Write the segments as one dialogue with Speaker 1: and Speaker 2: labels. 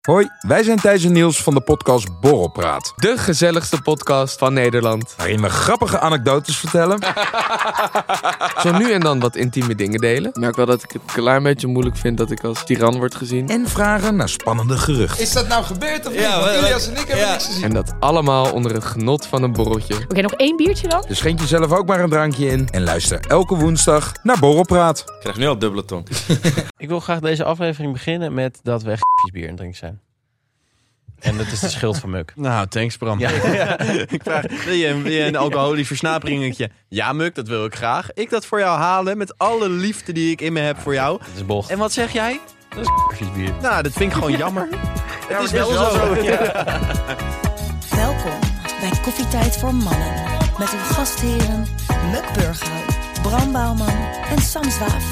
Speaker 1: Hoi, wij zijn Thijs en Niels van de podcast Borrelpraat.
Speaker 2: De gezelligste podcast van Nederland.
Speaker 1: Waarin we grappige anekdotes vertellen.
Speaker 2: Zo nu en dan wat intieme dingen delen. Ik merk wel dat ik het een klein beetje moeilijk vind dat ik als tiran word gezien.
Speaker 1: en vragen naar spannende geruchten.
Speaker 3: Is dat nou gebeurd of niet?
Speaker 4: Ja,
Speaker 3: Want
Speaker 4: wat-
Speaker 3: Ilias en ik hebben
Speaker 4: ja.
Speaker 3: niks gezien.
Speaker 2: En dat allemaal onder het genot van een borreltje.
Speaker 5: Oké, nog één biertje dan?
Speaker 1: Dus schenk jezelf ook maar een drankje in. En luister elke woensdag naar Borrelpraat.
Speaker 4: Ik krijg nu al dubbele tong.
Speaker 6: Ik wil graag deze aflevering beginnen met dat we echt bier aan het drinken zijn. En dat is de schuld van Muk.
Speaker 7: Nou, thanks Bram.
Speaker 6: Ja.
Speaker 7: ik vraag, wil je een, wil je een alcoholisch versnaperingetje? Ja, Muk, dat wil ik graag. Ik dat voor jou halen met alle liefde die ik in me heb voor jou.
Speaker 6: Dat is bocht.
Speaker 7: En wat zeg jij?
Speaker 6: Dat is bier.
Speaker 7: Nou, dat vind ik gewoon jammer. het is wel
Speaker 6: wel
Speaker 7: zo.
Speaker 8: Welkom bij Koffietijd voor Mannen. Met uw gastheren Muk Burghuis, Bram Bouwman en Sam Zwaaf.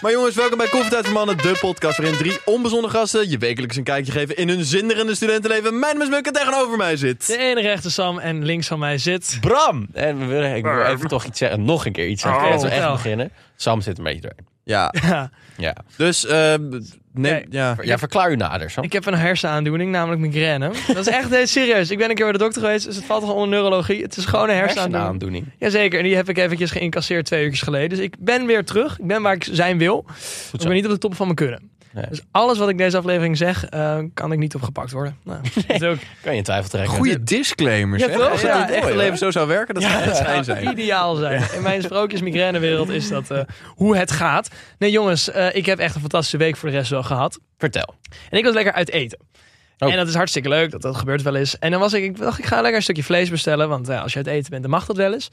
Speaker 7: Maar jongens, welkom bij Koffietijd voor Mannen, de podcast waarin drie onbezonnen gasten je wekelijks een kijkje geven in hun zinderende studentenleven. Mijn naam is Muk en tegenover mij
Speaker 9: De
Speaker 7: zit...
Speaker 9: ene rechter Sam en links van mij zit.
Speaker 6: Bram! En we willen, ik wil even toch iets zeggen, nog een keer iets zeggen.
Speaker 9: Oh.
Speaker 6: Laten we echt
Speaker 9: Vertel.
Speaker 6: beginnen. Sam zit een beetje doorheen.
Speaker 7: Ja,
Speaker 9: Ja,
Speaker 6: Ja.
Speaker 7: dus ehm, neem...
Speaker 9: Nee.
Speaker 7: Ja.
Speaker 6: Ja, verklaar u nader, Sam.
Speaker 9: ik heb een hersenaandoening, namelijk migraine. Dat is echt eh, serieus. Ik ben een keer bij de dokter geweest, dus het valt gewoon onder neurologie. Het is gewoon een hersenaandoening.
Speaker 6: aandoening.
Speaker 9: Jazeker, en die heb ik eventjes geïncasseerd twee uurtjes geleden. Dus ik ben weer terug. Ik ben waar ik zijn wil. Dus ik ben niet op de top van mijn kunnen.
Speaker 6: Nee.
Speaker 9: Dus alles wat ik deze aflevering zeg, eh, kan ik niet opgepakt worden. Nou, dat is ook
Speaker 6: Kan je in twijfel trekken.
Speaker 7: Goede disclaimers,
Speaker 9: Ja,
Speaker 7: hè?
Speaker 9: toch?
Speaker 7: Als het in het
Speaker 9: Ja,
Speaker 7: echte
Speaker 9: mooi,
Speaker 7: leven zo zou werken, dat zou het zijn
Speaker 9: zou
Speaker 7: zijn.
Speaker 9: ideaal zijn. In mijn sprookjes migrainewereld is dat eh, hoe het gaat. Nee jongens, eh, ik heb echt een fantastische week voor de rest wel gehad.
Speaker 6: Vertel.
Speaker 9: En ik was lekker uit eten.
Speaker 6: Oh.
Speaker 9: En dat is hartstikke leuk, dat, dat gebeurt wel eens. En dan was ik, ik dacht, ik ga lekker een stukje vlees bestellen. Want ja, als je uit eten bent, dan mag dat wel eens.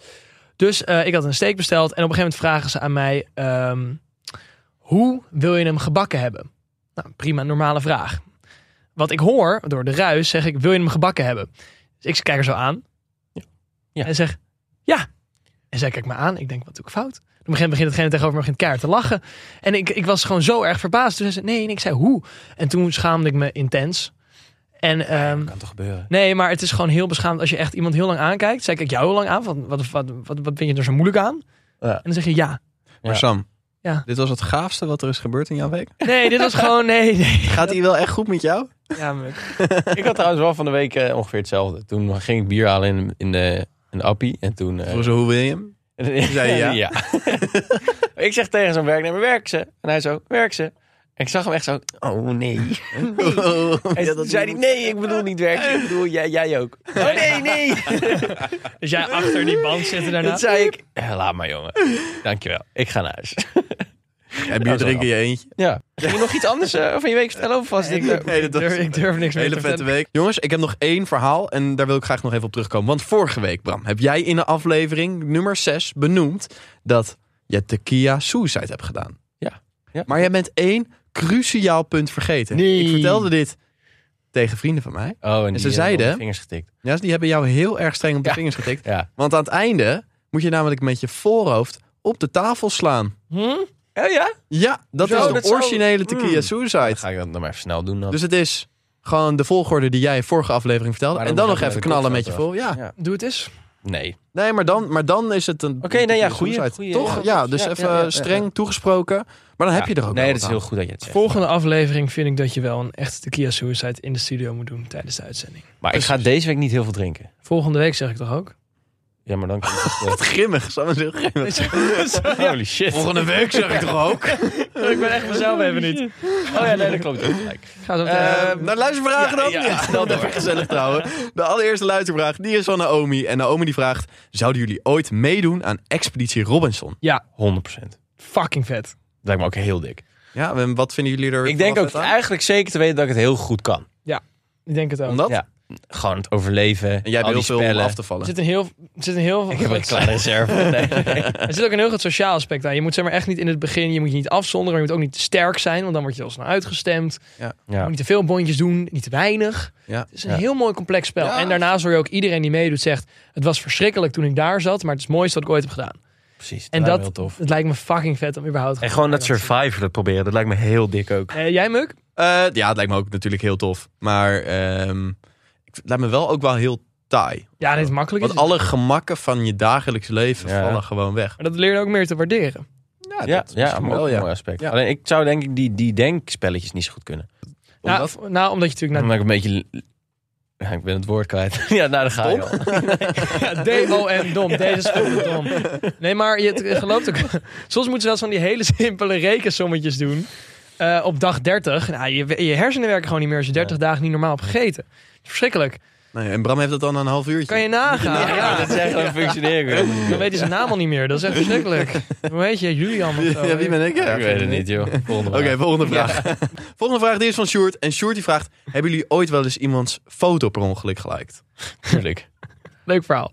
Speaker 9: Dus eh, ik had een steak besteld. En op een gegeven moment vragen ze aan mij: ehm, Hoe wil je hem gebakken hebben? Nou, prima, normale vraag. Wat ik hoor door de ruis, zeg ik: Wil je hem gebakken hebben? Dus ik kijk er zo aan.
Speaker 6: Ja.
Speaker 9: En zeg: Ja. En zij kijkt me aan. Ik denk: Wat doe ik fout? Op een gegeven moment begint hetgene tegenover me begint keihard te lachen. En ik, ik was gewoon zo erg verbaasd. Toen zei ze, nee, en ik zei, hoe? En toen schaamde ik me intens. En, ehm,
Speaker 6: Kan toch gebeuren.
Speaker 9: nee, maar het is gewoon heel beschaamd als je echt iemand heel lang aankijkt. Zei ik, kijk jou heel lang aan, van, wat, wat, wat, wat vind je er zo moeilijk aan?
Speaker 6: Ja.
Speaker 9: En dan zeg je, ja.
Speaker 7: Maar
Speaker 6: Ja.
Speaker 7: Sam,
Speaker 9: Ja.
Speaker 7: dit was het gaafste wat er is gebeurd in jouw week.
Speaker 9: Nee, dit was gewoon, nee, nee.
Speaker 7: Gaat hij wel echt goed met jou?
Speaker 9: Ja, Muk.
Speaker 6: Ik had trouwens wel van de week eh, ongeveer hetzelfde. Toen ging ik bier halen in, in de, in de appie. En toen... eh,
Speaker 7: Voor zo hoe wil je hem? zei ja.
Speaker 6: ik zeg tegen zo'n werknemer, werk ze. En hij zo, werk ze. En ik zag hem echt zo, oh nee.
Speaker 7: Oh,
Speaker 6: Hij zei niet, nee, ik bedoel niet werk ze. Ik bedoel, jij, jij ook. Oh nee, nee.
Speaker 9: Dus jij achter die band zitten daarna.
Speaker 6: Dat zei ik, "Eh, laat maar jongen. Dankjewel, ik ga naar huis.
Speaker 7: En bier drinken in je eentje.
Speaker 6: Ja. Ging je nog iets anders eh, van je week vertellen? Of was dit... eh,
Speaker 7: Nee, dat was
Speaker 9: durf- ik durf niks
Speaker 7: een
Speaker 9: meer
Speaker 7: hele vette
Speaker 9: te vertellen.
Speaker 7: week. Jongens, ik heb nog één verhaal en daar wil ik graag nog even op terugkomen. Want vorige week, Bram, heb jij in de aflevering nummer 6 benoemd dat je tequila suicide hebt gedaan.
Speaker 6: Ja. Ja.
Speaker 7: Maar jij bent één cruciaal punt vergeten.
Speaker 6: Nee.
Speaker 7: Ik vertelde dit tegen vrienden van mij.
Speaker 6: Oh, en
Speaker 7: ze
Speaker 6: die, eh,
Speaker 7: zeiden-
Speaker 6: op de vingers getikt.
Speaker 7: Ja, dus die hebben jou heel erg streng op de
Speaker 6: Ja.
Speaker 7: vingers getikt.
Speaker 6: Ja.
Speaker 7: Want aan het einde moet je namelijk met je voorhoofd op de tafel slaan.
Speaker 9: Hm?
Speaker 6: Oh ja?
Speaker 7: Ja, dat
Speaker 6: Zo,
Speaker 7: is de
Speaker 6: dat zou-
Speaker 7: originele tequila
Speaker 6: Mm.
Speaker 7: suicide.
Speaker 6: Ga ik dat nou maar even snel doen dan.
Speaker 7: Dus het is gewoon de volgorde die jij vorige aflevering vertelde.
Speaker 6: Maar
Speaker 7: en
Speaker 6: dan
Speaker 7: dan nog
Speaker 6: gaat
Speaker 7: even
Speaker 6: het met de
Speaker 7: knallen met je
Speaker 6: kopstoot
Speaker 7: vol. Ja.
Speaker 6: Ja.
Speaker 9: Doe het eens.
Speaker 6: Nee.
Speaker 7: Nee, maar dan, maar dan is het een.
Speaker 6: Oké, nou ja, goeie,
Speaker 7: suicide.
Speaker 6: goeie,
Speaker 7: Toch?
Speaker 6: ja.
Speaker 7: Ja, dus
Speaker 6: Ja,
Speaker 7: even
Speaker 6: ja, ja, ja.
Speaker 7: streng toegesproken. Maar dan heb je er ook
Speaker 6: Nee,
Speaker 7: wel
Speaker 6: dat is
Speaker 7: wat
Speaker 6: heel
Speaker 7: aan.
Speaker 6: goed dat je het zegt.
Speaker 9: Volgende aflevering vind ik dat je wel een echte tequila suicide in de studio moet doen tijdens de uitzending.
Speaker 6: Maar ik ga deze week niet heel veel drinken.
Speaker 9: Volgende week zeg ik toch ook?
Speaker 6: Ja, maar dan kan ik het, eh,
Speaker 7: Grimmig, Sam is heel grimmig.
Speaker 6: Holy shit.
Speaker 7: Volgende week zeg ik toch ook?
Speaker 9: ik ben echt mezelf even niet.
Speaker 6: Oh ja, nee, dat klopt. Gelijk.
Speaker 9: Ga zo
Speaker 7: Eh,
Speaker 6: Ehm,
Speaker 9: meteen.
Speaker 7: nou, luistervragen dan. Ja, dat is gezellig trouwen. De allereerste luistervraag, die is van Naomi. En Naomi die vraagt, zouden jullie ooit meedoen aan Expeditie Robinson?
Speaker 9: ja,
Speaker 6: 100%.
Speaker 9: fucking vet.
Speaker 6: Lijkt me ook heel dik.
Speaker 7: Ja, en wat vinden jullie er
Speaker 6: Ik denk ook
Speaker 7: vanaf aan?
Speaker 6: eigenlijk zeker te weten dat ik het heel goed kan.
Speaker 9: Ik denk het ook.
Speaker 7: Omdat?
Speaker 6: Ja. Gewoon het overleven.
Speaker 7: En jij hebt
Speaker 6: al
Speaker 7: heel
Speaker 6: die
Speaker 7: veel om
Speaker 6: spellen.
Speaker 7: af te
Speaker 9: Er
Speaker 7: vallen.
Speaker 9: zit een heel, er zit een heel
Speaker 6: Ik heb een kleine reserve.
Speaker 9: er zit ook een heel groot sociaal aspect aan. Je moet zeg maar echt niet in het begin, je moet je niet afzonderen, maar je moet ook niet te sterk zijn, want dan word je wel snel uitgestemd. Je moet
Speaker 6: Ja.
Speaker 9: niet te veel bondjes doen, niet te weinig.
Speaker 7: Ja.
Speaker 9: Het is een
Speaker 6: Ja.
Speaker 9: heel mooi complex spel.
Speaker 7: Ja.
Speaker 9: En daarnaast hoor je ook iedereen die meedoet zegt, het was verschrikkelijk toen ik daar zat, maar het is het mooiste wat ik ooit heb gedaan.
Speaker 6: Precies.
Speaker 9: en dat,
Speaker 6: heel tof.
Speaker 9: het lijkt me fucking vet om überhaupt...
Speaker 6: En gewoon dat survivalen proberen, dat lijkt me heel dik ook.
Speaker 9: Eh, jij, Muk?
Speaker 7: Eh, ja, het lijkt me ook natuurlijk heel tof. Maar ehm, het lijkt me wel ook wel heel taai.
Speaker 9: Ja, dit is makkelijk.
Speaker 7: Want
Speaker 9: is het.
Speaker 7: alle gemakken van je dagelijks leven
Speaker 6: Ja.
Speaker 7: vallen gewoon weg.
Speaker 9: Maar dat leer je ook meer te waarderen.
Speaker 7: Ja,
Speaker 6: ja,
Speaker 7: dat is
Speaker 6: ja,
Speaker 7: misschien
Speaker 6: maar ook
Speaker 7: wel,
Speaker 6: een
Speaker 7: ja.
Speaker 6: mooi aspect.
Speaker 7: Ja.
Speaker 6: Alleen ik zou denk ik die, die denkspelletjes niet zo goed kunnen.
Speaker 9: Nou,
Speaker 7: Omdat-
Speaker 9: v- nou, omdat je
Speaker 6: Dan
Speaker 9: natuurlijk
Speaker 6: ben ik een beetje... Ja, ik ben het woord kwijt. ja, nou, dan ga je al.
Speaker 9: naar D-O-M, dom. Deze is fucking dom. Nee, maar je het gelooft ook... Soms moeten ze wel eens van die hele simpele rekensommetjes doen. Eh, op dag 30. Nou, je, je hersenen werken gewoon niet meer als je 30 dagen niet normaal hebt gegeten. Verschrikkelijk.
Speaker 7: Nee, en Bram heeft dat dan een half uurtje.
Speaker 9: Kan je nagaan. Ja,
Speaker 6: Ja, dat zijn gewoon functioneren.
Speaker 9: Dan weet hij zijn naam al niet meer. Dat is echt verschrikkelijk. Hoe heet je? Julian of zo.
Speaker 7: Ja, wie ben ik? Ja,
Speaker 6: Ik weet het niet, joh. Volgende
Speaker 7: Oké, volgende vraag. volgende vraag die is van Sjoerd. En Sjoerd die vraagt, hebben jullie ooit wel eens iemands foto per ongeluk geliked?
Speaker 6: natuurlijk.
Speaker 9: Leuk verhaal.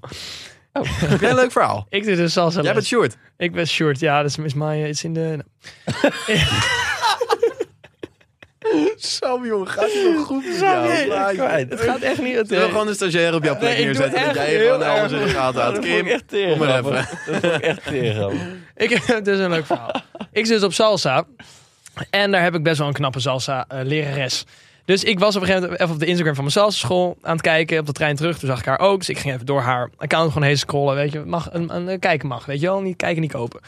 Speaker 7: Heb jij een leuk verhaal?
Speaker 9: Ik doe dus salsa
Speaker 7: Jij
Speaker 9: les.
Speaker 7: bent Sjoerd.
Speaker 9: Ik ben short. Ja, dat is, is mijn... eh, It's in de...
Speaker 7: Sam, jongen, gaat het wel goed met jou?
Speaker 9: Het gaat echt niet... Het,
Speaker 7: Zullen we gewoon een stagiair op jouw plek
Speaker 9: Nee, ik doe
Speaker 7: neerzetten... dat
Speaker 9: echt
Speaker 7: jij
Speaker 9: heel
Speaker 7: gewoon alles
Speaker 9: erg
Speaker 7: in de gaten houdt?
Speaker 6: dat vond ik
Speaker 7: Kim,
Speaker 6: echt tegen.
Speaker 7: kom maar even.
Speaker 6: Dat vond ik echt tegen.
Speaker 9: Ik heb dus een leuk verhaal. ik zit dus op salsa. En daar heb ik best wel een knappe salsa-lerares. dus ik was op een gegeven moment even op de Instagram van mijn salsa school aan het kijken. Op de trein terug, toen zag ik haar ook. Dus ik ging even door haar account gewoon heen scrollen. Weet je, mag, een, een, een kijken mag, weet je wel. Niet kijken, niet kopen.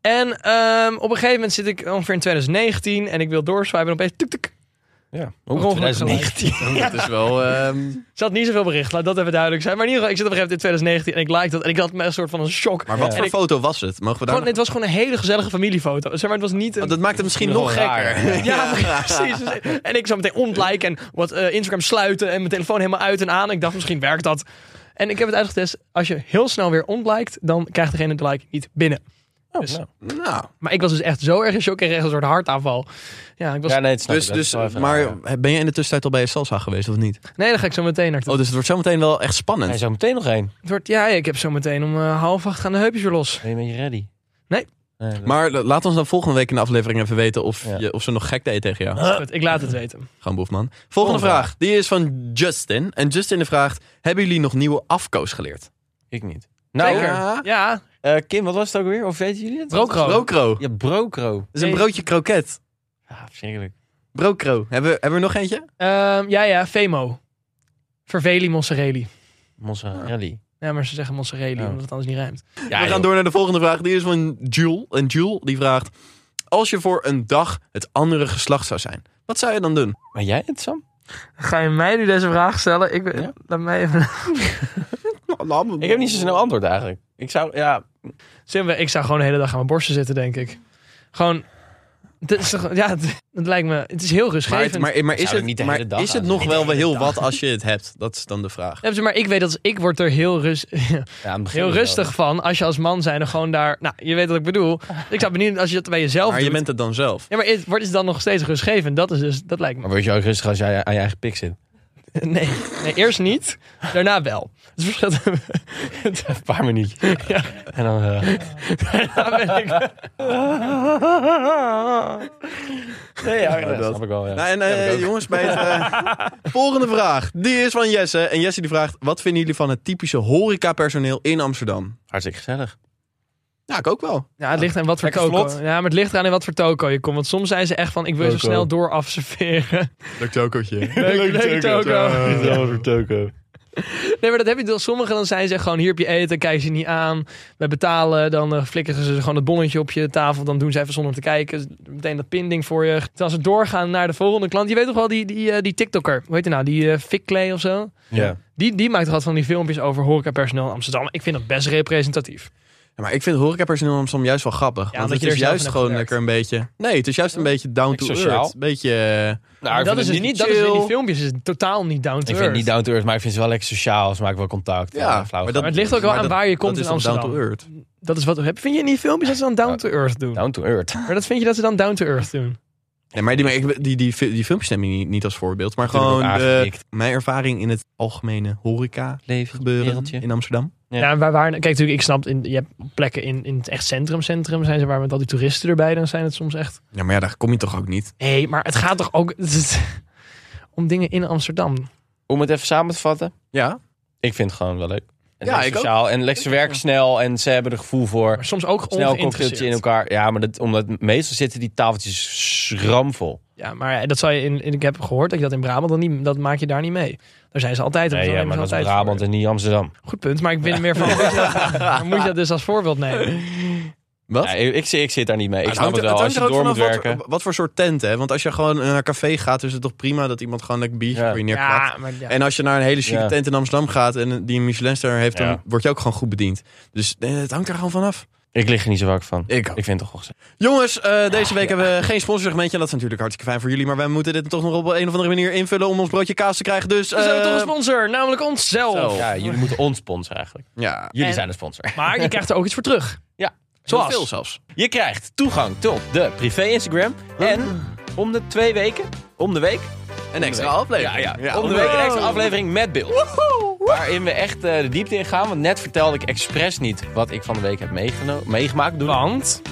Speaker 9: En ehm, op een gegeven moment zit ik ongeveer in 2019 en ik wil doorswipen en opeens tuk tuk.
Speaker 6: Ja.
Speaker 9: Per ongeluk
Speaker 6: 2019.
Speaker 7: Het is wel... ehm,
Speaker 9: Er zat niet zoveel bericht, laat dat even duidelijk zijn. Maar in ieder geval, ik zit op een gegeven moment in 2019 en ik like dat. En ik had me een soort van een shock.
Speaker 7: maar wat
Speaker 9: En
Speaker 7: voor
Speaker 9: ik-
Speaker 7: foto was het? Mogen we daar...
Speaker 9: gewoon, het was gewoon een hele gezellige familiefoto. Zeg maar, het was niet een...
Speaker 7: Want dat maakt het misschien nog
Speaker 6: Gewoon
Speaker 7: gekker.
Speaker 6: raar.
Speaker 9: Ja, precies. Dus- En ik zou meteen ontliken en wat eh, Instagram sluiten en mijn telefoon helemaal uit en aan. Ik dacht, misschien werkt dat. En ik heb het uitgetest. Als je heel snel weer ontlikt, dan krijgt degene de like niet binnen. Dus-
Speaker 6: nou.
Speaker 7: Nou,
Speaker 9: Maar ik was dus echt zo erg in shock. Ik kreeg echt een soort hartaanval. Ja, ik was...
Speaker 6: Ja, nee, het snap
Speaker 7: dus,
Speaker 6: ik. Dat is
Speaker 7: dus,
Speaker 6: wel even raar, ja.
Speaker 7: maar ben je in de tussentijd al bij je salsa geweest of niet?
Speaker 9: Nee, daar ga ik zo meteen naartoe.
Speaker 7: Oh, dus het wordt zometeen wel echt
Speaker 6: Hij
Speaker 7: spannend.
Speaker 6: zou meteen nog heen.
Speaker 9: Het wordt, ja, ik heb zo meteen om eh, half acht gaan de heupjes weer los.
Speaker 6: Ben je een beetje ready?
Speaker 9: Nee.
Speaker 6: dat-
Speaker 7: Maar la- laat ons dan volgende week in de aflevering even weten of,
Speaker 6: Ja.
Speaker 7: je, of ze nog gek deed tegen jou.
Speaker 9: Dus Goed, ik laat het weten.
Speaker 7: Gewoon boefman. Volgende vraag. Die is van Justin. En Justin vraagt, hebben jullie nog nieuwe afkoos geleerd?
Speaker 6: Ik niet. Nou,
Speaker 9: Zeker.
Speaker 7: Ja.
Speaker 9: Ja,
Speaker 6: eh, Kim, wat was het ook weer? Of weten jullie het?
Speaker 9: Brokro.
Speaker 7: Brokro.
Speaker 6: Ja, brokro.
Speaker 7: Dat is een broodje kroket.
Speaker 6: Ja, verschrikkelijk.
Speaker 7: Brokro. Hebben, we- hebben we nog eentje?
Speaker 9: Ehm, ja, ja, Femo. Verveli mozzarelli.
Speaker 6: Mozzarella.
Speaker 9: Ja, maar ze zeggen mozzarelli,
Speaker 6: Oh.
Speaker 9: omdat het anders niet rijmt.
Speaker 6: Ja,
Speaker 7: we gaan door naar de volgende vraag. Die is van Jule. En Jule die vraagt, als je voor een dag het andere geslacht zou zijn, wat zou je dan doen?
Speaker 6: Maar jij het, Sam?
Speaker 9: Ga je mij nu deze vraag stellen? Ik,
Speaker 6: Ja.
Speaker 9: Laat mij even Nou,
Speaker 6: Ik heb niet zo snel antwoord eigenlijk. Ik zou, ja...
Speaker 9: Simpelweg, ik zou gewoon de hele dag aan mijn borsten zitten, denk ik. Gewoon. Het is toch, ja, het, het lijkt me. Het is
Speaker 7: Maar,
Speaker 9: heel
Speaker 7: het-
Speaker 9: rustgevend. Maar,
Speaker 7: maar, maar is
Speaker 6: Zou ik
Speaker 7: het,
Speaker 6: niet de
Speaker 7: maar
Speaker 6: hele dag
Speaker 7: is het
Speaker 6: aan
Speaker 7: nog
Speaker 6: doen.
Speaker 7: wel wel heel wat als je het hebt? Dat is dan de vraag.
Speaker 9: maar ik weet dat als ik word er heel, rust,
Speaker 6: ja aan het begin
Speaker 9: heel
Speaker 6: wel.
Speaker 9: rustig van. Als je als man zijn er gewoon daar. Nou, je weet wat ik bedoel. Ik zou benieuwd als je dat bij jezelf
Speaker 7: Maar
Speaker 9: doet.
Speaker 7: je bent het dan zelf.
Speaker 9: Ja, maar is- wordt het dan nog steeds rustgevend? Dat is dus. Dat lijkt me.
Speaker 6: Maar word je ook rustig als jij aan je eigen pik zit?
Speaker 9: Nee, nee eerst niet. Daarna wel. Het verschil.
Speaker 6: Een paar minuutjes. En dan... eh,
Speaker 9: Daarna ben ik.
Speaker 6: Nee, ja, dat
Speaker 7: dat-
Speaker 6: snap ik wel, ja.
Speaker 7: Nou, en eh, jongens, bij het eh, volgende vraag. Die is van Jesse. En Jesse die vraagt, wat vinden jullie van het typische horecapersoneel in Amsterdam?
Speaker 6: Hartstikke gezellig.
Speaker 7: Ja, ik ook wel.
Speaker 9: Ja, het ligt aan wat voor
Speaker 6: Lekker
Speaker 9: toko.
Speaker 6: vlot.
Speaker 9: Ja, maar het ligt eraan in wat voor toko je komt. Want soms zijn ze echt van: ik wil zo
Speaker 6: Toko.
Speaker 9: snel door afserveren.
Speaker 7: Leuk tokootje.
Speaker 9: Leuk, leuk toko.
Speaker 6: Gezellig toko.
Speaker 9: Nee, maar dat heb je door sommigen. Dan zijn ze gewoon hier heb je eten, kijken ze niet aan. Wij betalen, dan eh, flikkeren ze gewoon het bonnetje op je tafel. Dan doen ze even zonder te kijken. Meteen dat pinding voor je. Terwijl ze doorgaan naar de volgende klant. Je weet toch wel, die, die, eh, die TikToker. Hoe heet hij nou? Die eh Fik Clay of zo?
Speaker 6: Ja.
Speaker 9: Die, die maakt toch altijd van die filmpjes over horecapersoneel in Amsterdam. Ik vind dat best representatief.
Speaker 7: maar ik vind horecapersoneel in Amsterdam juist wel grappig.
Speaker 9: Ja,
Speaker 7: want
Speaker 9: omdat
Speaker 7: het
Speaker 9: je
Speaker 7: is
Speaker 9: er zelf
Speaker 7: juist
Speaker 9: in
Speaker 7: gewoon
Speaker 9: hebt
Speaker 7: lekker een beetje... Nee, het is juist een beetje down to
Speaker 6: Sociaal.
Speaker 7: earth. Een beetje... eh,
Speaker 6: Nou, ik
Speaker 9: dat
Speaker 6: vind
Speaker 9: is
Speaker 6: het
Speaker 9: dus
Speaker 6: niet
Speaker 9: niet, dat is weer die
Speaker 7: chill.
Speaker 9: filmpjes is totaal niet down to
Speaker 6: Ik vind het
Speaker 9: earth.
Speaker 6: niet down to earth, maar ik vind ze wel lekker sociaal. Ze maken wel contact.
Speaker 7: Ja,
Speaker 6: flauw.
Speaker 7: maar dat-
Speaker 9: maar het ligt ook wel
Speaker 7: Maar
Speaker 9: aan waar je komt
Speaker 7: dat
Speaker 9: in
Speaker 7: is dan
Speaker 9: Amsterdam.
Speaker 7: down to earth.
Speaker 9: Dat is wat we hebben. Vind je in die filmpjes dat ze dan down to earth doen?
Speaker 6: Down to earth.
Speaker 9: Maar dat vind je dat ze dan down to earth doen?
Speaker 7: Nee, maar die, maar ik- die, die, die filmpjes neem ik niet, niet als voorbeeld. Maar
Speaker 6: Natuurlijk
Speaker 7: gewoon
Speaker 6: ook
Speaker 7: de-
Speaker 6: aangetikt.
Speaker 7: mijn ervaring in het algemene horeca
Speaker 6: Leven,
Speaker 7: gebeuren in Amsterdam.
Speaker 6: Ja.
Speaker 9: Ja, Nou, waar, waar, kijk, natuurlijk, ik snap, in, je hebt plekken in, in het echt centrum, centrum zijn ze waar met al die toeristen erbij, dan zijn het soms echt.
Speaker 7: Ja, maar ja, daar kom je toch ook niet.
Speaker 9: Hé, maar het gaat toch ook het is- om dingen in Amsterdam.
Speaker 6: Om het even samen te vatten.
Speaker 7: Ja?
Speaker 6: Ik vind het gewoon wel leuk. En
Speaker 7: Ja,
Speaker 6: lekker
Speaker 7: ik ook.
Speaker 6: sociaal. En lekker, ze werken snel en ze hebben er gevoel voor.
Speaker 9: Maar soms
Speaker 6: Snel
Speaker 9: ook
Speaker 6: een cocktailtje in
Speaker 9: ongeïnteresseerd.
Speaker 6: elkaar. Ja, maar dat, omdat meestal zitten die tafeltjes schramvol.
Speaker 9: Ja, maar eh, dat zou je in, in- ik heb gehoord dat je dat in Brabant dan niet, dat maak je daar niet mee. Daar zijn ze altijd. daar
Speaker 6: Nee, ja,
Speaker 9: nemen
Speaker 6: maar
Speaker 9: ze
Speaker 6: dat is
Speaker 9: altijd voor.
Speaker 6: Brabant en niet Amsterdam.
Speaker 9: Goed punt, maar ik ben er meer van. moet je dat- maar moet je dat dus als voorbeeld nemen?
Speaker 7: Wat?
Speaker 6: Ja, ik, ik, zit- ik zit daar niet mee. Ik
Speaker 7: Maar
Speaker 6: snap
Speaker 7: hangt-
Speaker 6: het wel. Als
Speaker 7: hangt
Speaker 6: je
Speaker 7: er ook
Speaker 6: door moet
Speaker 7: vanaf
Speaker 6: werken.
Speaker 7: Wat, wat voor soort tent, hè? Want als je gewoon naar een café gaat, is het toch prima dat iemand gewoon een biertje
Speaker 6: Ja.
Speaker 7: voor je neerklapt.
Speaker 9: Ja, maar ja.
Speaker 7: En als je naar een hele chique
Speaker 6: Ja.
Speaker 7: tent in Amsterdam gaat en die een Michelinster heeft, dan
Speaker 6: Ja.
Speaker 7: word je ook gewoon goed bediend. Dus eh, het hangt er gewoon vanaf.
Speaker 6: Ik lig er niet zo wakker van.
Speaker 7: Ik ook.
Speaker 6: Ik vind het toch wel
Speaker 7: Jongens, eh, deze week hebben we geen sponsorsegmentje. En dat is natuurlijk hartstikke fijn voor jullie. Maar wij moeten dit toch nog op een of andere manier invullen om ons broodje kaas te krijgen. Dus
Speaker 9: Dus we hebben
Speaker 7: eh,
Speaker 9: toch een sponsor, namelijk
Speaker 7: Zo.
Speaker 9: onszelf.
Speaker 6: Ja, jullie moeten ons sponsoren eigenlijk.
Speaker 7: Ja,
Speaker 6: Jullie
Speaker 9: En-
Speaker 6: zijn de sponsor.
Speaker 9: Maar je krijgt er ook iets voor terug.
Speaker 6: Ja,
Speaker 9: Zoals.
Speaker 7: veel zelfs.
Speaker 6: Je krijgt toegang tot de privé Instagram. En om de twee weken, om de week,
Speaker 7: Een extra
Speaker 6: week.
Speaker 7: aflevering.
Speaker 6: Ja, ja. Om de week een extra aflevering met beeld. Waarin we echt eh, de diepte in gaan. Want net vertelde ik expres niet wat ik van de week heb meegeno- meegemaakt. Doe
Speaker 9: Want.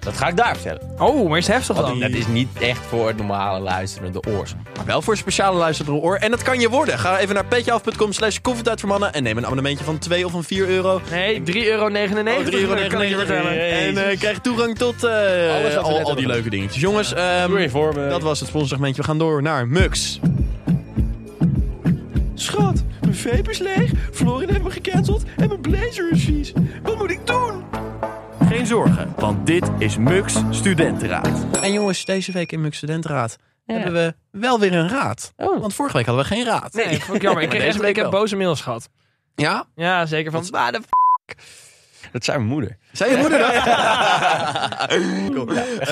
Speaker 6: Dat ga ik daar vertellen.
Speaker 9: Oh, maar is het heftig
Speaker 6: Want
Speaker 9: dan?
Speaker 6: dat is niet echt voor het normale luisterende oors.
Speaker 7: Maar wel voor speciale luisterderoor. En dat kan je worden. Ga even naar petjeaf.com slash koffietijd voor mannen. En neem een abonnementje van 2 of van 4 euro.
Speaker 9: Nee, 3,99 euro.
Speaker 7: Oh, 3,99
Speaker 6: eh,
Speaker 7: euro.
Speaker 9: kan ik je vertellen.
Speaker 7: En eh, krijg toegang tot eh,
Speaker 6: Alles wat we net
Speaker 7: al, al
Speaker 6: hebben
Speaker 7: die
Speaker 6: gedaan.
Speaker 7: leuke dingetjes. Jongens, ehm,
Speaker 6: Doe je voor me.
Speaker 7: dat was het sponsorsegmentje. We gaan door naar Mux.
Speaker 6: Schat, mijn vape is leeg. Florin heeft me gecanceld. En mijn blazer is vies. Wat moet ik doen?
Speaker 3: Geen zorgen, want dit is Mux Studentenraad.
Speaker 7: En jongens, deze week in Mux Studentenraad hebben we wel weer een raad. Want vorige week hadden we geen raad.
Speaker 9: eh, Oh. Nee, vond ik jammer. Ik, kreeg
Speaker 7: deze
Speaker 9: echt-
Speaker 7: week
Speaker 9: ik heb
Speaker 7: wel.
Speaker 9: boze mails gehad.
Speaker 7: Ja?
Speaker 9: Ja, zeker. Van, waar de f***?
Speaker 6: Dat zijn mijn moeder.
Speaker 7: Zei je moeder dat? Cool.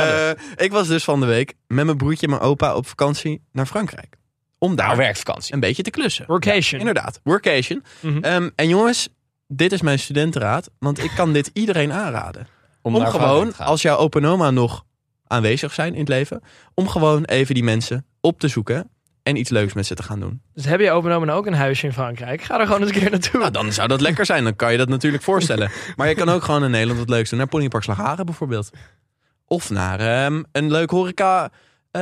Speaker 7: Eh, ik was dus van de week met mijn broertje en mijn opa op vakantie naar Frankrijk. Om daar
Speaker 6: Nou, werkvakantie.
Speaker 7: een beetje te klussen.
Speaker 9: Workation.
Speaker 7: Inderdaad, workation.
Speaker 9: Mhm.
Speaker 7: Ehm, en jongens, dit is mijn studentenraad, want ik kan dit iedereen aanraden. Om,
Speaker 6: naar Frankrijk
Speaker 7: gewoon,
Speaker 6: te gaan.
Speaker 7: als jouw opa en oma nog aanwezig zijn in het leven, om gewoon even die mensen op te zoeken en iets leuks met ze te gaan doen.
Speaker 9: Dus heb je opgenomen ook een huisje in Frankrijk? Ga er gewoon eens een keer naartoe.
Speaker 7: Nou, dan zou dat lekker zijn, dan kan je dat natuurlijk voorstellen. Maar je kan ook gewoon in Nederland wat leuks doen, naar Ponypark Slagharen bijvoorbeeld. Of naar ehm, een leuk horeca... eh,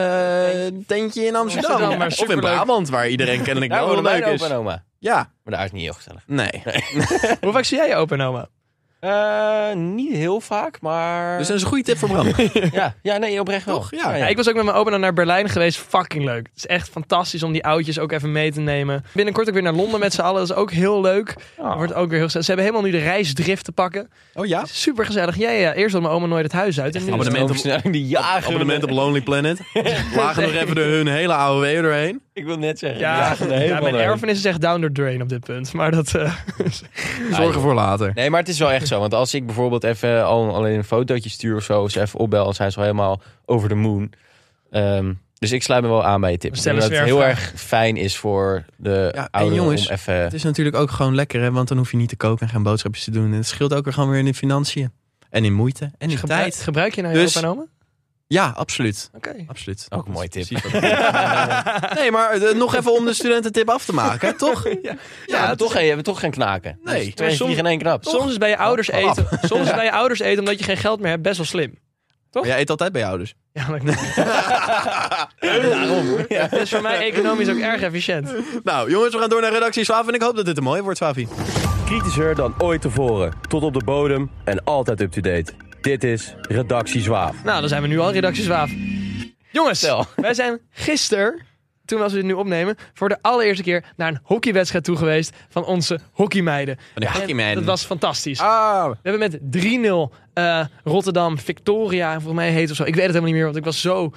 Speaker 7: tentje in Amsterdam.
Speaker 9: Amsterdam, maar
Speaker 7: of in
Speaker 9: superleuk.
Speaker 7: Brabant, waar iedereen kennelijk
Speaker 6: Daar
Speaker 7: wel
Speaker 6: wonen
Speaker 7: wat
Speaker 6: mijn
Speaker 7: leuk is.
Speaker 6: opa en oma.
Speaker 7: Ja,
Speaker 6: Maar daar is niet heel gezellig.
Speaker 7: nee.
Speaker 9: Hoe vaak zie jij je opa en oma?
Speaker 6: Eh, niet heel vaak, maar...
Speaker 7: Dus dat is een goede tip voor Bram.
Speaker 6: ja, ja, nee, oprecht wel.
Speaker 7: Toch? Ja.
Speaker 9: Ja, ik was ook met mijn opa naar Berlijn geweest. Fucking leuk. Het is echt fantastisch om die oudjes ook even mee te nemen. Binnenkort ook weer naar Londen met z'n allen. Dat is ook heel leuk. Dat wordt ook weer heel gezellig. Ze hebben helemaal nu de reisdrift te pakken.
Speaker 7: Oh ja?
Speaker 9: Super gezellig. Ja, ja. Eerst had mijn oma nooit het huis uit. En nu
Speaker 7: Abonnement op-
Speaker 6: Oversnelling die jagen.
Speaker 7: Abonnement op Lonely Planet. Lagen nog even de, hun hele oude weer doorheen.
Speaker 6: Ik wil net zeggen. die
Speaker 9: ja,
Speaker 6: jagen er
Speaker 9: ja,
Speaker 6: helemaal
Speaker 9: mijn
Speaker 6: doorheen.
Speaker 9: erfenis is echt down the drain op dit punt. Maar dat... eh,
Speaker 7: Zorgen voor later.
Speaker 6: Nee, maar het is wel echt zo. Want als ik bijvoorbeeld even al, alleen een fotootje stuur of zo, of ze even opbel, dan zijn ze wel helemaal over de moon. Ehm, dus ik sluit me wel aan bij je tip. Ik
Speaker 9: Stel
Speaker 6: denk
Speaker 9: eens
Speaker 6: dat het
Speaker 9: weer
Speaker 6: heel
Speaker 9: een
Speaker 6: erg fijn is voor de
Speaker 7: Ja, en
Speaker 6: ouderen
Speaker 7: jongens,
Speaker 6: om even...
Speaker 7: Het is natuurlijk ook gewoon lekker, hè? want dan hoef je niet te koken en geen boodschapjes te doen. En het scheelt ook weer gewoon weer in de financiën. En in moeite en in
Speaker 9: gebruik,
Speaker 7: Hm. tijd.
Speaker 9: gebruik je nou
Speaker 7: Dus-
Speaker 9: je opa en oma?
Speaker 7: Ja, absoluut.
Speaker 9: Oké.
Speaker 7: absoluut.
Speaker 6: Ook een mooie tip.
Speaker 7: Precies wat ik bedoel. nee, maar eh, nog even om de studententip af te maken, hè, toch? Ja,
Speaker 6: Ja, we hebben
Speaker 7: het
Speaker 6: toch, geen- we hebben toch geen knaken.
Speaker 7: Nee.
Speaker 6: Dus twee
Speaker 9: Maar
Speaker 6: vliegen in één knap.
Speaker 9: Soms is bij je ouders
Speaker 7: Hap.
Speaker 9: eten, soms is bij je ouders eten omdat je geen geld meer hebt, best wel slim.
Speaker 7: Maar jij eet altijd bij dus. je ouders.
Speaker 9: Ja, maar ik Het is voor mij economisch ook erg efficiënt.
Speaker 7: Nou, jongens, we gaan door naar redactie Swavi. En ik hoop dat dit een mooie wordt, Swavi.
Speaker 3: Kritischer dan ooit tevoren, tot op de bodem en altijd up-to-date. Dit is Redactie Zwaaf.
Speaker 9: Nou, dan zijn we nu al redactie Zwaaf. Jongens, wij zijn gisteren, toen als we dit nu opnemen, voor de allereerste keer naar een hockeywedstrijd toe geweest van onze hockeymeiden.
Speaker 7: Van de
Speaker 9: En
Speaker 7: hockeyman.
Speaker 9: Dat was fantastisch.
Speaker 7: Ah,
Speaker 9: We hebben met 3-0 eh, Rotterdam, Victoria, volgens mij heet het of zo. Ik weet het helemaal niet meer, want ik was zo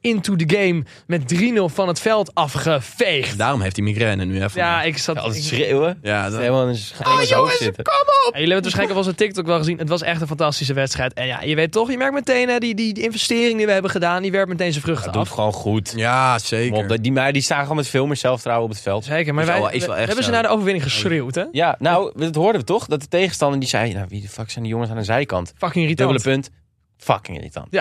Speaker 9: into the game met 3-0 van het veld afgeveegd.
Speaker 7: daarom heeft hij migraine nu even.
Speaker 9: Ja, ik zat...
Speaker 6: Als het
Speaker 9: ik-
Speaker 6: schreeuwen.
Speaker 7: ja dat-
Speaker 6: Helemaal in zijn oh, hoofd zitten.
Speaker 9: Ja, jullie hebben het waarschijnlijk al wel eens op TikTok wel gezien. Het was echt een fantastische wedstrijd. En ja, je weet toch, je merkt meteen hè, die, die, die investering die we hebben gedaan, die werpt meteen zijn vruchten
Speaker 6: Dat
Speaker 9: af.
Speaker 6: doet gewoon goed.
Speaker 7: ja zeker.
Speaker 6: Op dat- die, maar die staan gewoon met veel meer zelfvertrouwen op het veld.
Speaker 9: Zeker, maar
Speaker 7: Is
Speaker 9: wij
Speaker 7: wel- is wel
Speaker 9: we-
Speaker 7: echt
Speaker 9: hebben ze
Speaker 7: zo.
Speaker 9: naar de overwinning geschreeuwd, hè?
Speaker 6: Ja, nou, dat hoorden we toch? Dat de tegenstander die zei, nou wie de fuck zijn die jongens aan de zijkant?
Speaker 9: Fucking irritant.
Speaker 6: Dubbele punt. Fucking irritant.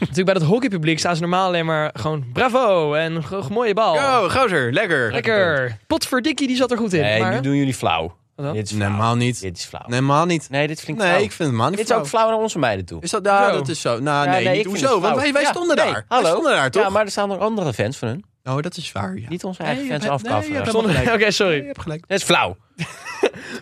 Speaker 9: Natuurlijk bij dat hockeypubliek staan ze normaal alleen maar gewoon bravo en ge- mooie bal.
Speaker 7: Go, gozer, lekker.
Speaker 9: Lekker. Potverdikkie, die zat er goed in.
Speaker 6: Oh. Nee,
Speaker 9: maar...
Speaker 6: nu doen jullie flauw.
Speaker 9: Wat dan?
Speaker 6: Dit is flauw.
Speaker 7: Normaal niet.
Speaker 6: Dit is flauw. Nee,
Speaker 7: Normaal niet.
Speaker 6: dit vind ik
Speaker 7: Nee,
Speaker 6: flauw.
Speaker 7: ik vind het man niet
Speaker 6: dit is
Speaker 7: flauw.
Speaker 6: ook flauw naar onze meiden toe.
Speaker 7: Is dat, nou,
Speaker 9: Zo.
Speaker 7: dat is zo. Nou,
Speaker 6: Ja,
Speaker 7: nee,
Speaker 6: nee,
Speaker 7: niet
Speaker 6: ik vind
Speaker 7: hoezo,
Speaker 6: het
Speaker 7: want
Speaker 6: flauw.
Speaker 7: wij, wij
Speaker 6: Ja,
Speaker 7: stonden
Speaker 6: nee,
Speaker 7: daar.
Speaker 6: hallo.
Speaker 7: Wij stonden daar, toch?
Speaker 6: Ja, maar er staan nog andere fans van hun.
Speaker 7: Oh, dat is waar, ja.
Speaker 6: Niet onze
Speaker 7: Nee,
Speaker 6: eigen
Speaker 7: je
Speaker 6: fans
Speaker 7: hebt-
Speaker 6: afkaffen.
Speaker 7: nee, je hebt
Speaker 6: Sommige-
Speaker 9: Zonder- Oké,
Speaker 7: Je
Speaker 9: sorry.
Speaker 7: hebt gelijk.
Speaker 6: Dit is flauw.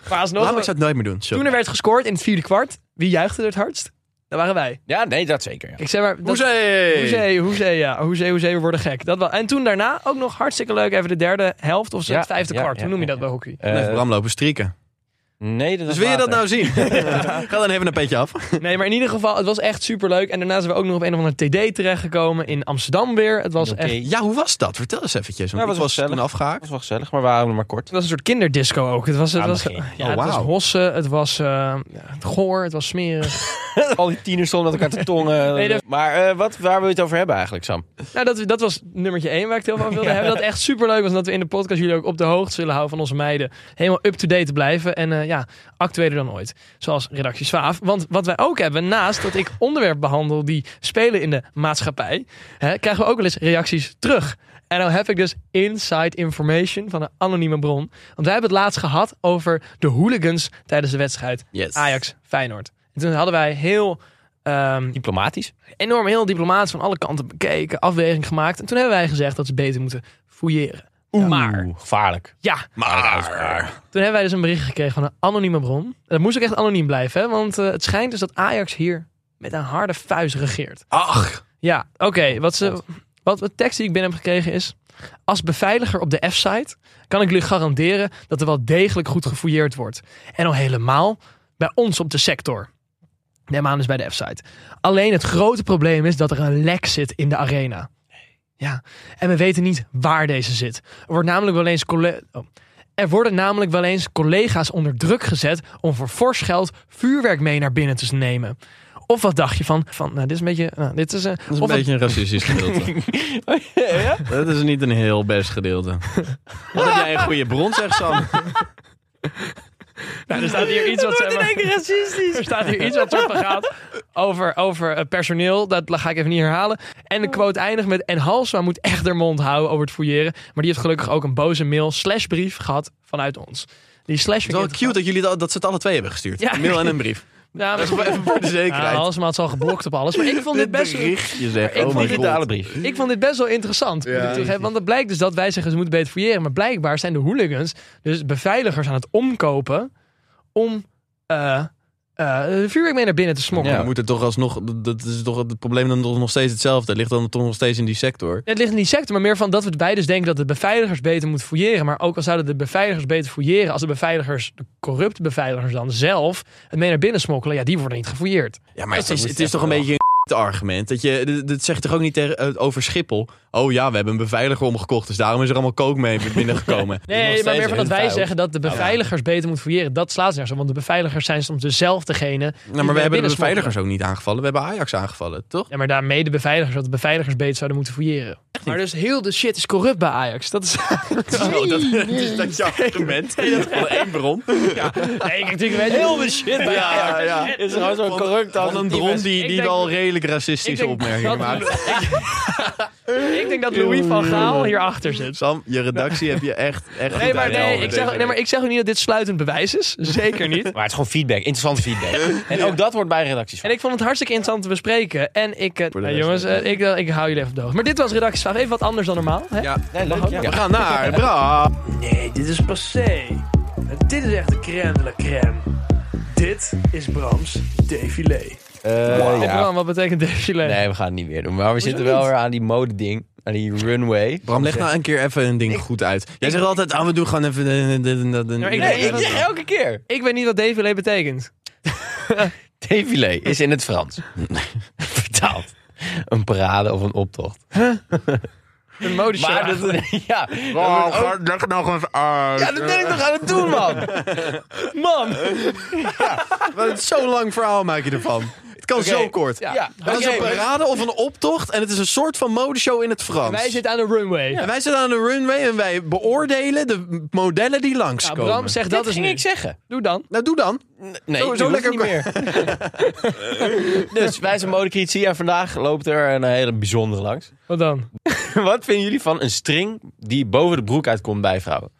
Speaker 9: Maar alsnog,
Speaker 7: Waarom ik zou het nooit meer doen? Sorry.
Speaker 9: toen er werd gescoord in het vierde kwart, wie juichte er het hardst? Daar waren wij.
Speaker 6: Ja, nee, dat zeker. ja.
Speaker 9: Ik zei maar... dat-
Speaker 7: Hoezee!
Speaker 9: Hoezee, hoezee, ja. Hoezee, hoezee, we worden gek. Dat wel. En toen daarna ook nog hartstikke leuk. Even de derde helft of zo,
Speaker 6: Ja,
Speaker 9: het vijfde
Speaker 6: ja,
Speaker 9: kwart.
Speaker 6: ja,
Speaker 9: Hoe noem je
Speaker 6: ja,
Speaker 9: dat bij hockey?
Speaker 7: Nee,
Speaker 6: Eh,
Speaker 7: Bram lopen strieken.
Speaker 6: nee,
Speaker 7: Dus
Speaker 6: dat was
Speaker 7: wil je dat
Speaker 6: later.
Speaker 7: nou zien? Ga dan even een petje af.
Speaker 9: Nee, maar in ieder geval, het was echt superleuk. En daarna zijn we ook nog op een of andere TD terechtgekomen in Amsterdam weer. Het was
Speaker 6: Oké.
Speaker 9: echt...
Speaker 7: Ja, hoe was dat? Vertel eens eventjes. Want
Speaker 6: Nou,
Speaker 7: ik
Speaker 6: was
Speaker 7: was
Speaker 6: gezellig.
Speaker 7: toen afgehaakt.
Speaker 6: Dat was wel gezellig, maar we houden hem maar kort.
Speaker 9: Het was een soort kinderdisco ook. Het was, het
Speaker 6: Aan
Speaker 9: was,
Speaker 6: het begin.
Speaker 9: ja,
Speaker 7: Oh,
Speaker 9: het was
Speaker 7: wauw.
Speaker 9: hossen, het was eh, ja, het goor, het was smerig.
Speaker 6: Al die tieners stonden met elkaar te tongen.
Speaker 9: Nee, dat-
Speaker 6: Maar eh, wat, waar wil je het over hebben eigenlijk, Sam?
Speaker 9: nou, dat, dat was nummertje één waar ik het heel van wilde hebben. Dat echt superleuk was. En dat we in de podcast jullie ook op de hoogte zullen houden van onze meiden. Helemaal up-to-date blijven. En eh, ja, actueler dan ooit. Zoals redactie Zwaaf. Want wat wij ook hebben, naast dat ik onderwerpen behandel die spelen in de maatschappij. Hè, krijgen we ook wel eens reacties terug. En dan heb ik dus inside information van een anonieme bron. Want wij hebben het laatst gehad over de hooligans tijdens de wedstrijd
Speaker 7: Yes.
Speaker 9: Ajax Feyenoord. En toen hadden wij heel ehm,
Speaker 6: Diplomatisch?
Speaker 9: enorm heel diplomatisch van alle kanten bekeken, afweging gemaakt. En toen hebben wij gezegd dat ze beter moeten fouilleren. Maar,
Speaker 6: Oeh, gevaarlijk.
Speaker 9: ja,
Speaker 7: Maar.
Speaker 9: toen hebben wij dus een bericht gekregen van een anonieme bron. En dat moest ook echt anoniem blijven, hè? want eh, het schijnt dus dat Ajax hier met een harde vuist regeert.
Speaker 7: Ach.
Speaker 9: Ja, oké, wat ze... Wat de tekst die ik binnen heb gekregen is... Als beveiliger op de F-site kan ik jullie garanderen dat er wel degelijk goed gefouilleerd wordt. En al helemaal bij ons op de sector. Neem aan dus bij de F-site. Alleen het grote probleem is dat er een lek zit in de arena. Ja, en we weten niet waar deze zit. Er, wordt namelijk wel eens colle- oh. er worden namelijk wel eens collega's onder druk gezet om voor fors geld vuurwerk mee naar binnen te nemen. Of wat dacht je van, van nou dit is een beetje, nou, dit is, eh,
Speaker 7: Dat is een
Speaker 9: of
Speaker 7: beetje een racistisch gedeelte. Dat is niet een heel best gedeelte. Wat heb jij een goede bron, zeg Sam.
Speaker 9: Nou, er staat hier iets wat ze hebben... racistisch. Er staat hier iets wat ze gaat over, over eh, personeel. Dat ga ik even niet herhalen. En de quote eindigt met... En Halsma moet echt haar mond houden over het fouilleren. Maar die heeft gelukkig ook een boze mail slash brief gehad vanuit ons. Die slash...
Speaker 7: Het is wel cute dat, jullie dat, dat ze het alle twee hebben gestuurd.
Speaker 9: Ja.
Speaker 7: Een mail en een brief.
Speaker 9: Ja, maar-
Speaker 7: Dat is even voor de
Speaker 9: Ja,
Speaker 7: zekerheid.
Speaker 9: Halsma had ze al geblokt op alles. Maar ik vond dit best...
Speaker 7: berichtje zeg.
Speaker 9: Ik
Speaker 7: Oh
Speaker 9: vond
Speaker 7: mijn
Speaker 9: dit
Speaker 7: god.
Speaker 6: brief.
Speaker 9: Ik vond dit best wel interessant. moet ik toegeven. want het blijkt dus dat wij zeggen ze moeten beter fouilleren. Maar blijkbaar zijn de hooligans dus beveiligers aan het omkopen om eh eh, vuurwerk mee naar binnen te smokkelen.
Speaker 7: Ja, we moeten toch alsnog, dat is toch het probleem dan toch nog steeds hetzelfde. Het ligt dan toch nog steeds in die sector.
Speaker 9: Het ligt in die sector, maar meer van dat we wij dus denken dat de beveiligers beter moeten fouilleren. Maar ook al zouden de beveiligers beter fouilleren, als de beveiligers, de corrupte beveiligers dan zelf, het mee naar binnen smokkelen, ja, die worden niet gefouilleerd.
Speaker 7: Ja, maar het is, het is toch een beetje een argument. Dat, je, dat- dat zegt toch ook niet tegen- eh, over Schiphol. Oh ja, we hebben een beveiliger omgekocht, dus daarom is er allemaal kook mee binnengekomen.
Speaker 9: Nee, maar meer van dat wij
Speaker 7: vuil.
Speaker 9: zeggen dat de
Speaker 7: Nou,
Speaker 9: beveiligers beter moeten fouilleren. Dat slaat nergens op, want de beveiligers zijn soms dus zelf degene.
Speaker 7: Nou, maar we hebben de
Speaker 9: binnen
Speaker 7: beveiligers ook niet aangevallen. We hebben Ajax aangevallen, toch?
Speaker 9: Ja, maar daarmee de beveiligers, dat de beveiligers beter zouden moeten fouilleren. Maar dus heel de shit is corrupt bij Ajax. Dat is.
Speaker 7: Oh, dat, dat is dat je argument. Nee, dat is gewoon één bron.
Speaker 9: Nee, ik denk, weet heel de shit bij
Speaker 7: Ja, ja.
Speaker 6: Het is gewoon zo'n corrupt
Speaker 7: Van een bron die,
Speaker 9: Ik
Speaker 7: die
Speaker 9: denk-
Speaker 7: wel redelijk racistische opmerkingen maakt.
Speaker 9: Ik denk dat Louis van Gaal hierachter zit.
Speaker 7: Sam, je redactie heb je echt, echt
Speaker 9: Nee,
Speaker 7: goed
Speaker 9: maar, nee,
Speaker 7: uitgehaald
Speaker 9: ik
Speaker 7: deze
Speaker 9: zeg, nee, maar
Speaker 7: week.
Speaker 9: ik zeg ook niet dat dit sluitend bewijs is. Zeker niet.
Speaker 6: Maar het is gewoon feedback, interessant feedback. En ook dat wordt bij redacties.
Speaker 9: En ik vond het hartstikke interessant te bespreken. En ik... eh,
Speaker 7: Voor de
Speaker 9: nou,
Speaker 7: rest,
Speaker 9: jongens, eh, ik, eh, ik hou jullie even op de hoogte. Maar dit was Redactiesvraag. Even wat anders dan normaal. Hè?
Speaker 7: Ja.
Speaker 6: Nee, leuk, ja.
Speaker 7: We gaan naar Bra.
Speaker 9: Nee, dit is passé. dit is echt de crème de la crème. Dit is Brams défilé.
Speaker 6: Eh, ja.
Speaker 9: wat betekent défilé?
Speaker 6: Nee, we gaan het niet weer doen. Maar we zitten wel weer aan die mode-ding. Aan die runway.
Speaker 7: Bram, leg nou een keer even een ding goed uit. Jij zegt altijd, ah, we doen gewoon even... dit en dit en dat en-
Speaker 9: Nou, ik-
Speaker 6: Nee,
Speaker 9: Nee,
Speaker 6: ik zeg elke keer.
Speaker 9: Ik weet niet wat défilé betekent.
Speaker 6: Défilé is in het Frans. Vertaald. Een parade of een optocht.
Speaker 9: Een modeshow.
Speaker 6: Maar
Speaker 9: eigenlijk.
Speaker 6: dat, ja,
Speaker 7: Oh, ga- leg nou gewoon even uit.
Speaker 6: ja, dat ben ik toch aan het doen, man.
Speaker 9: Man!
Speaker 7: Wat een- Zo'n lang verhaal maak je ervan. Het kan zo kort.
Speaker 9: Ja.
Speaker 6: Ja,
Speaker 7: Dat is
Speaker 6: oké.
Speaker 7: een parade of een optocht en het is een soort van modeshow in het Frans.
Speaker 9: Wij zitten aan de runway.
Speaker 7: En wij zitten aan de runway en wij beoordelen de modellen die
Speaker 9: Nou,
Speaker 7: langskomen.
Speaker 9: Bram, zeg dat
Speaker 6: Dat
Speaker 9: is
Speaker 6: ging
Speaker 9: nu.
Speaker 6: ik zeggen.
Speaker 9: Doe dan.
Speaker 7: Nou, doe dan.
Speaker 6: Nee,
Speaker 7: Zo-
Speaker 6: zo,
Speaker 7: zo
Speaker 6: lekker niet
Speaker 7: lekker
Speaker 6: meer. dus wij zijn modecritici en vandaag loopt er een hele bijzondere langs.
Speaker 9: Wat dan?
Speaker 6: Wat vinden jullie van een string die boven de broek uitkomt bij vrouwen?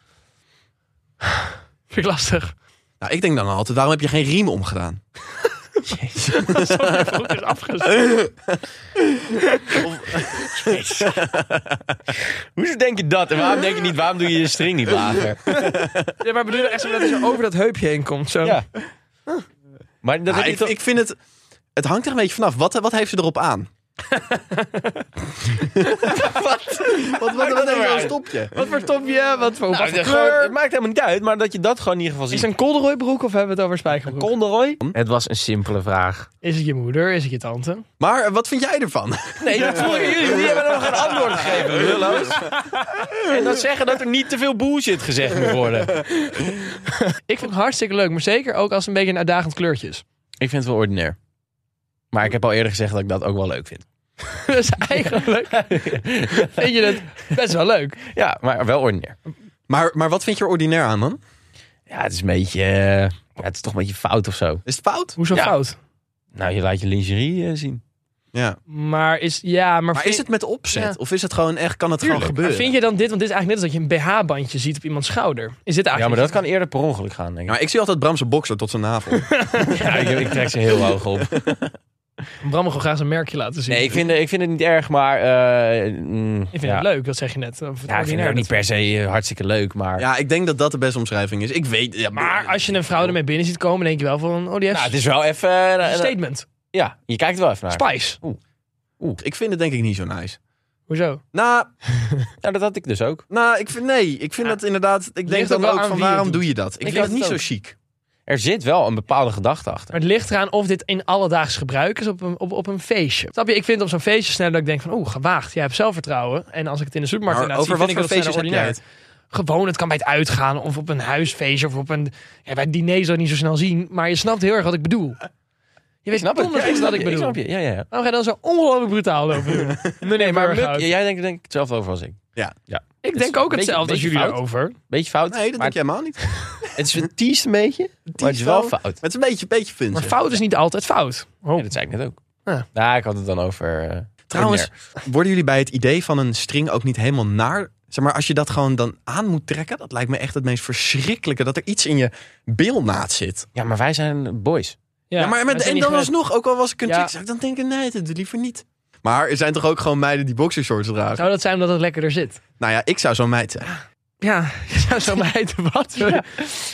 Speaker 9: Vind ik lastig.
Speaker 7: Nou, ik denk dan altijd, waarom heb je geen riem omgedaan?
Speaker 9: Goed is afgezet.
Speaker 6: Hoezo denk je dat? En waarom denk je niet, waarom doe je je string niet lager?
Speaker 9: Ja, maar bedoel je echt zo dat hij zo over dat heupje heen komt? Zo.
Speaker 6: Ja. Maar dat
Speaker 7: Ah,
Speaker 6: heb je
Speaker 7: ik,
Speaker 6: toch...
Speaker 7: ik vind het... het hangt er een beetje vanaf. Wat, wat heeft ze erop aan? wat? Wat, wat, wat heeft ze als topje?
Speaker 9: Wat voor topje? Wat voor
Speaker 6: Nou, de-
Speaker 9: wat voor
Speaker 6: gewoon-
Speaker 9: kleur?
Speaker 6: het maakt helemaal niet uit, maar dat je dat gewoon in ieder geval
Speaker 9: Is
Speaker 6: ziet.
Speaker 9: het een corduroy broek of hebben we het over spijkerbroek?
Speaker 6: Conderoy? Het was een simpele vraag.
Speaker 9: Is het je moeder? Is het je tante?
Speaker 7: Maar eh, wat vind jij ervan?
Speaker 6: Nee, dat vroegen jullie. Jullie hebben nog geen antwoord gegeven, lulloos. En dat zeggen dat er niet te veel bullshit gezegd moet worden.
Speaker 9: Ik vond het hartstikke leuk, maar zeker ook als een beetje een uitdagend kleurtje is.
Speaker 6: Ik vind het wel ordinair. Maar ik heb al eerder gezegd dat ik dat ook wel leuk vind.
Speaker 9: Dus eigenlijk vind je het best wel leuk.
Speaker 6: Ja, maar wel ordinair.
Speaker 7: Maar, maar wat vind je er ordinair aan dan?
Speaker 6: Ja, het is een beetje... eh, ja, het is toch een beetje fout of zo.
Speaker 7: Is het fout?
Speaker 9: Hoezo
Speaker 6: Ja.
Speaker 9: fout?
Speaker 6: Nou, je laat je lingerie eh, zien.
Speaker 7: Ja.
Speaker 9: Maar is, ja, maar,
Speaker 7: Maar
Speaker 9: vind-
Speaker 7: is het met opzet?
Speaker 9: Ja.
Speaker 7: Of is het gewoon echt, kan het gewoon
Speaker 9: maar
Speaker 7: gebeuren?
Speaker 9: vind je dan dit, want dit is eigenlijk net als dat je een BH-bandje ziet op iemands schouder. Is dit
Speaker 6: Ja, maar
Speaker 9: eigenlijk...
Speaker 6: dat kan eerder per ongeluk gaan, denk
Speaker 7: Ja,
Speaker 6: ik.
Speaker 7: maar ik zie altijd Bramse bokser tot zijn navel.
Speaker 6: Ja, ik, ik trek ze heel hoog op.
Speaker 9: Bram wil gewoon graag zijn merkje laten zien.
Speaker 6: Nee, ik vind, het- ik vind het niet erg, maar... eh, mm,
Speaker 9: Ik vind
Speaker 6: ja.
Speaker 9: het leuk, dat zeg je net. Of het
Speaker 6: Ja, ik vind het
Speaker 9: ordinair
Speaker 6: ook niet per se eh, hartstikke leuk, maar...
Speaker 7: ja, ik denk dat dat de beste omschrijving is. Ik weet... Ja,
Speaker 9: Maar als je een vrouw ermee binnen ziet komen, denk je wel van, oh die heeft
Speaker 6: Nou, het is wel even... eh,
Speaker 9: een
Speaker 6: eh,
Speaker 9: statement.
Speaker 6: ja, je kijkt er wel even naar.
Speaker 9: Spice.
Speaker 7: Ik vind het denk ik niet zo nice.
Speaker 9: Hoezo?
Speaker 7: Nou,
Speaker 6: Nou, dat had ik dus ook.
Speaker 7: nou ik vind, nee. Ik vind dat inderdaad... Ik denk
Speaker 9: ligt
Speaker 7: dan
Speaker 9: ook wel
Speaker 7: ook
Speaker 9: aan
Speaker 7: van
Speaker 9: wie je
Speaker 7: waarom
Speaker 9: doet.
Speaker 7: doe je dat? Ik, vind
Speaker 9: had
Speaker 7: het niet
Speaker 9: het
Speaker 7: zo
Speaker 9: ook.
Speaker 7: chic.
Speaker 6: Er zit wel een bepaalde gedachte achter.
Speaker 9: Maar het ligt eraan of dit in alledaags gebruik is op een, op, op een feestje. Snap je? Ik vind op zo'n feestje snel dat ik denk van, oeh, gewaagd. Jij hebt zelfvertrouwen. En als ik het in de supermarkt
Speaker 7: Maar
Speaker 9: inderdaad
Speaker 7: over
Speaker 9: zie,
Speaker 7: wat
Speaker 9: vind
Speaker 7: voor
Speaker 9: ik dat
Speaker 7: feestjes heb
Speaker 9: sneller
Speaker 7: jij
Speaker 9: ordinair.
Speaker 7: het?
Speaker 9: Gewoon, het kan bij het uitgaan of op een huisfeestje of op een... Ja, bij het diner zou je het niet zo snel zien, maar je snapt heel erg wat ik bedoel. Je weet
Speaker 6: Snap het?
Speaker 9: donders
Speaker 6: Ja, ik
Speaker 9: goed
Speaker 6: snap
Speaker 9: wat ik
Speaker 6: je,
Speaker 9: bedoel.
Speaker 6: snap je. Ja, ja, ja.
Speaker 9: Waarom ga je dan zo ongelooflijk brutaal lopen doen? Nee, nee, maar
Speaker 6: Muk, jij denkt denk ik hetzelfde over als ik.
Speaker 9: ik
Speaker 6: het is
Speaker 9: denk ook
Speaker 6: een
Speaker 9: hetzelfde als
Speaker 6: beetje-
Speaker 9: jullie
Speaker 6: beetje
Speaker 9: erover.
Speaker 6: Beetje fout.
Speaker 7: Nee, dat
Speaker 6: maar
Speaker 7: denk jij helemaal niet. Maar
Speaker 6: Het is een tease een beetje, maar het is wel fout.
Speaker 7: het is een beetje, beetje punten.
Speaker 9: Maar fout is niet altijd fout. Oh.
Speaker 6: Ja, dat zei ik net ook.
Speaker 9: Ja.
Speaker 6: Nou, ik had het dan over... eh,
Speaker 7: Trouwens, worden jullie bij het idee van een string ook niet helemaal naar? Zeg maar, als je dat gewoon dan aan moet trekken, dat lijkt me echt het meest verschrikkelijke. Dat er iets in je bilnaad zit.
Speaker 6: Ja, maar wij zijn boys.
Speaker 7: Ja, maar met,
Speaker 9: wij zijn
Speaker 7: en
Speaker 9: niet
Speaker 7: dan
Speaker 9: gewend.
Speaker 7: alsnog, ook al was ik een
Speaker 9: Ja.
Speaker 7: chick, zou ik dan denken, nee, dat doe liever niet. Maar er zijn toch ook gewoon meiden die boxershorts dragen?
Speaker 9: Zou dat zijn omdat het lekkerder zit?
Speaker 7: Nou ja, ik zou zo'n meid zijn.
Speaker 9: Ja, je zou zo mijten wat?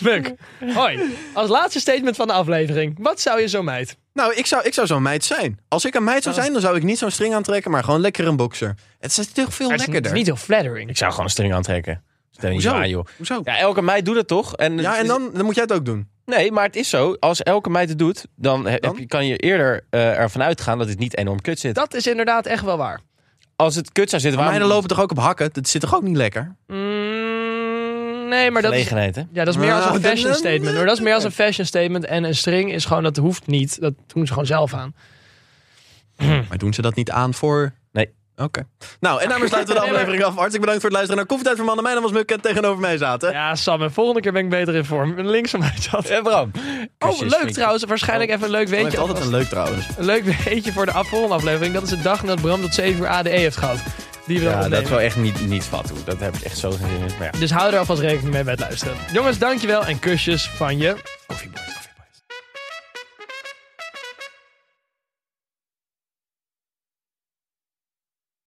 Speaker 9: Buk. Hoi. Als laatste statement van de aflevering. Wat zou je zo mijt?
Speaker 7: Nou, ik zou, ik zou zo'n meid zijn. Als ik een meid
Speaker 6: Nou,
Speaker 7: zou zijn, dan zou ik niet zo'n string aantrekken, maar gewoon lekker een boxer. Het is toch veel
Speaker 9: Het is- het
Speaker 7: lekkerder.
Speaker 9: is niet heel flattering.
Speaker 6: Ik zou gewoon een string aantrekken. Stel niet
Speaker 7: Hoezo?
Speaker 6: waar, joh.
Speaker 7: Hoezo? Ja,
Speaker 6: Ja, elke meid doet dat toch? En het
Speaker 7: en
Speaker 6: is-
Speaker 7: dan, dan moet jij het ook doen.
Speaker 6: Nee, maar het is zo. Als elke meid het doet, dan, he- heb
Speaker 7: Dan?
Speaker 6: je- kan je eerder eh, ervan uitgaan dat het niet enorm kut zit.
Speaker 9: Dat is inderdaad echt wel waar.
Speaker 6: Als het kut zou zitten, waarom...
Speaker 7: Meiden lopen toch ook op hakken? Dat zit toch ook niet lekker?
Speaker 9: Mm, nee, maar dat is...
Speaker 6: Gelegenheid, hè?
Speaker 9: Ja, dat is meer als
Speaker 7: Nou,
Speaker 9: een
Speaker 7: dat-
Speaker 9: fashion statement. Hoor. Dat is meer als een fashion statement. En een string is gewoon, dat hoeft niet. Dat doen ze gewoon zelf aan.
Speaker 7: Maar doen ze dat niet aan voor...
Speaker 6: Nee.
Speaker 7: Oké. Nou, en daarmee sluiten we de
Speaker 9: Nee, maar-
Speaker 7: aflevering af. Hartelijk bedankt voor het luisteren naar Koffietijd voor Mannen. Mijn naam was Muk en tegenover mij zaten...
Speaker 9: Ja, Sam, en volgende keer ben ik beter in vorm. Links van mij zat.
Speaker 6: Eh, Bram.
Speaker 9: Oh,
Speaker 6: Kusjes,
Speaker 9: leuk
Speaker 6: vinkjes.
Speaker 9: trouwens. Waarschijnlijk even een leuk
Speaker 7: Hij
Speaker 9: weetje.
Speaker 7: heeft altijd een leuk trouwens.
Speaker 9: Een leuk weetje voor de af- volgende aflevering. Dat is de dag nadat Bram tot 7 uur ADE heeft gehad. Die we dan
Speaker 6: Ja,
Speaker 9: opnemen.
Speaker 6: dat is wel echt niet, niet vat, hoe. Dat heb ik echt zo geen zin in. Maar ja.
Speaker 9: Dus hou er alvast rekening mee bij het luisteren. Jongens, dankjewel en kusjes van je.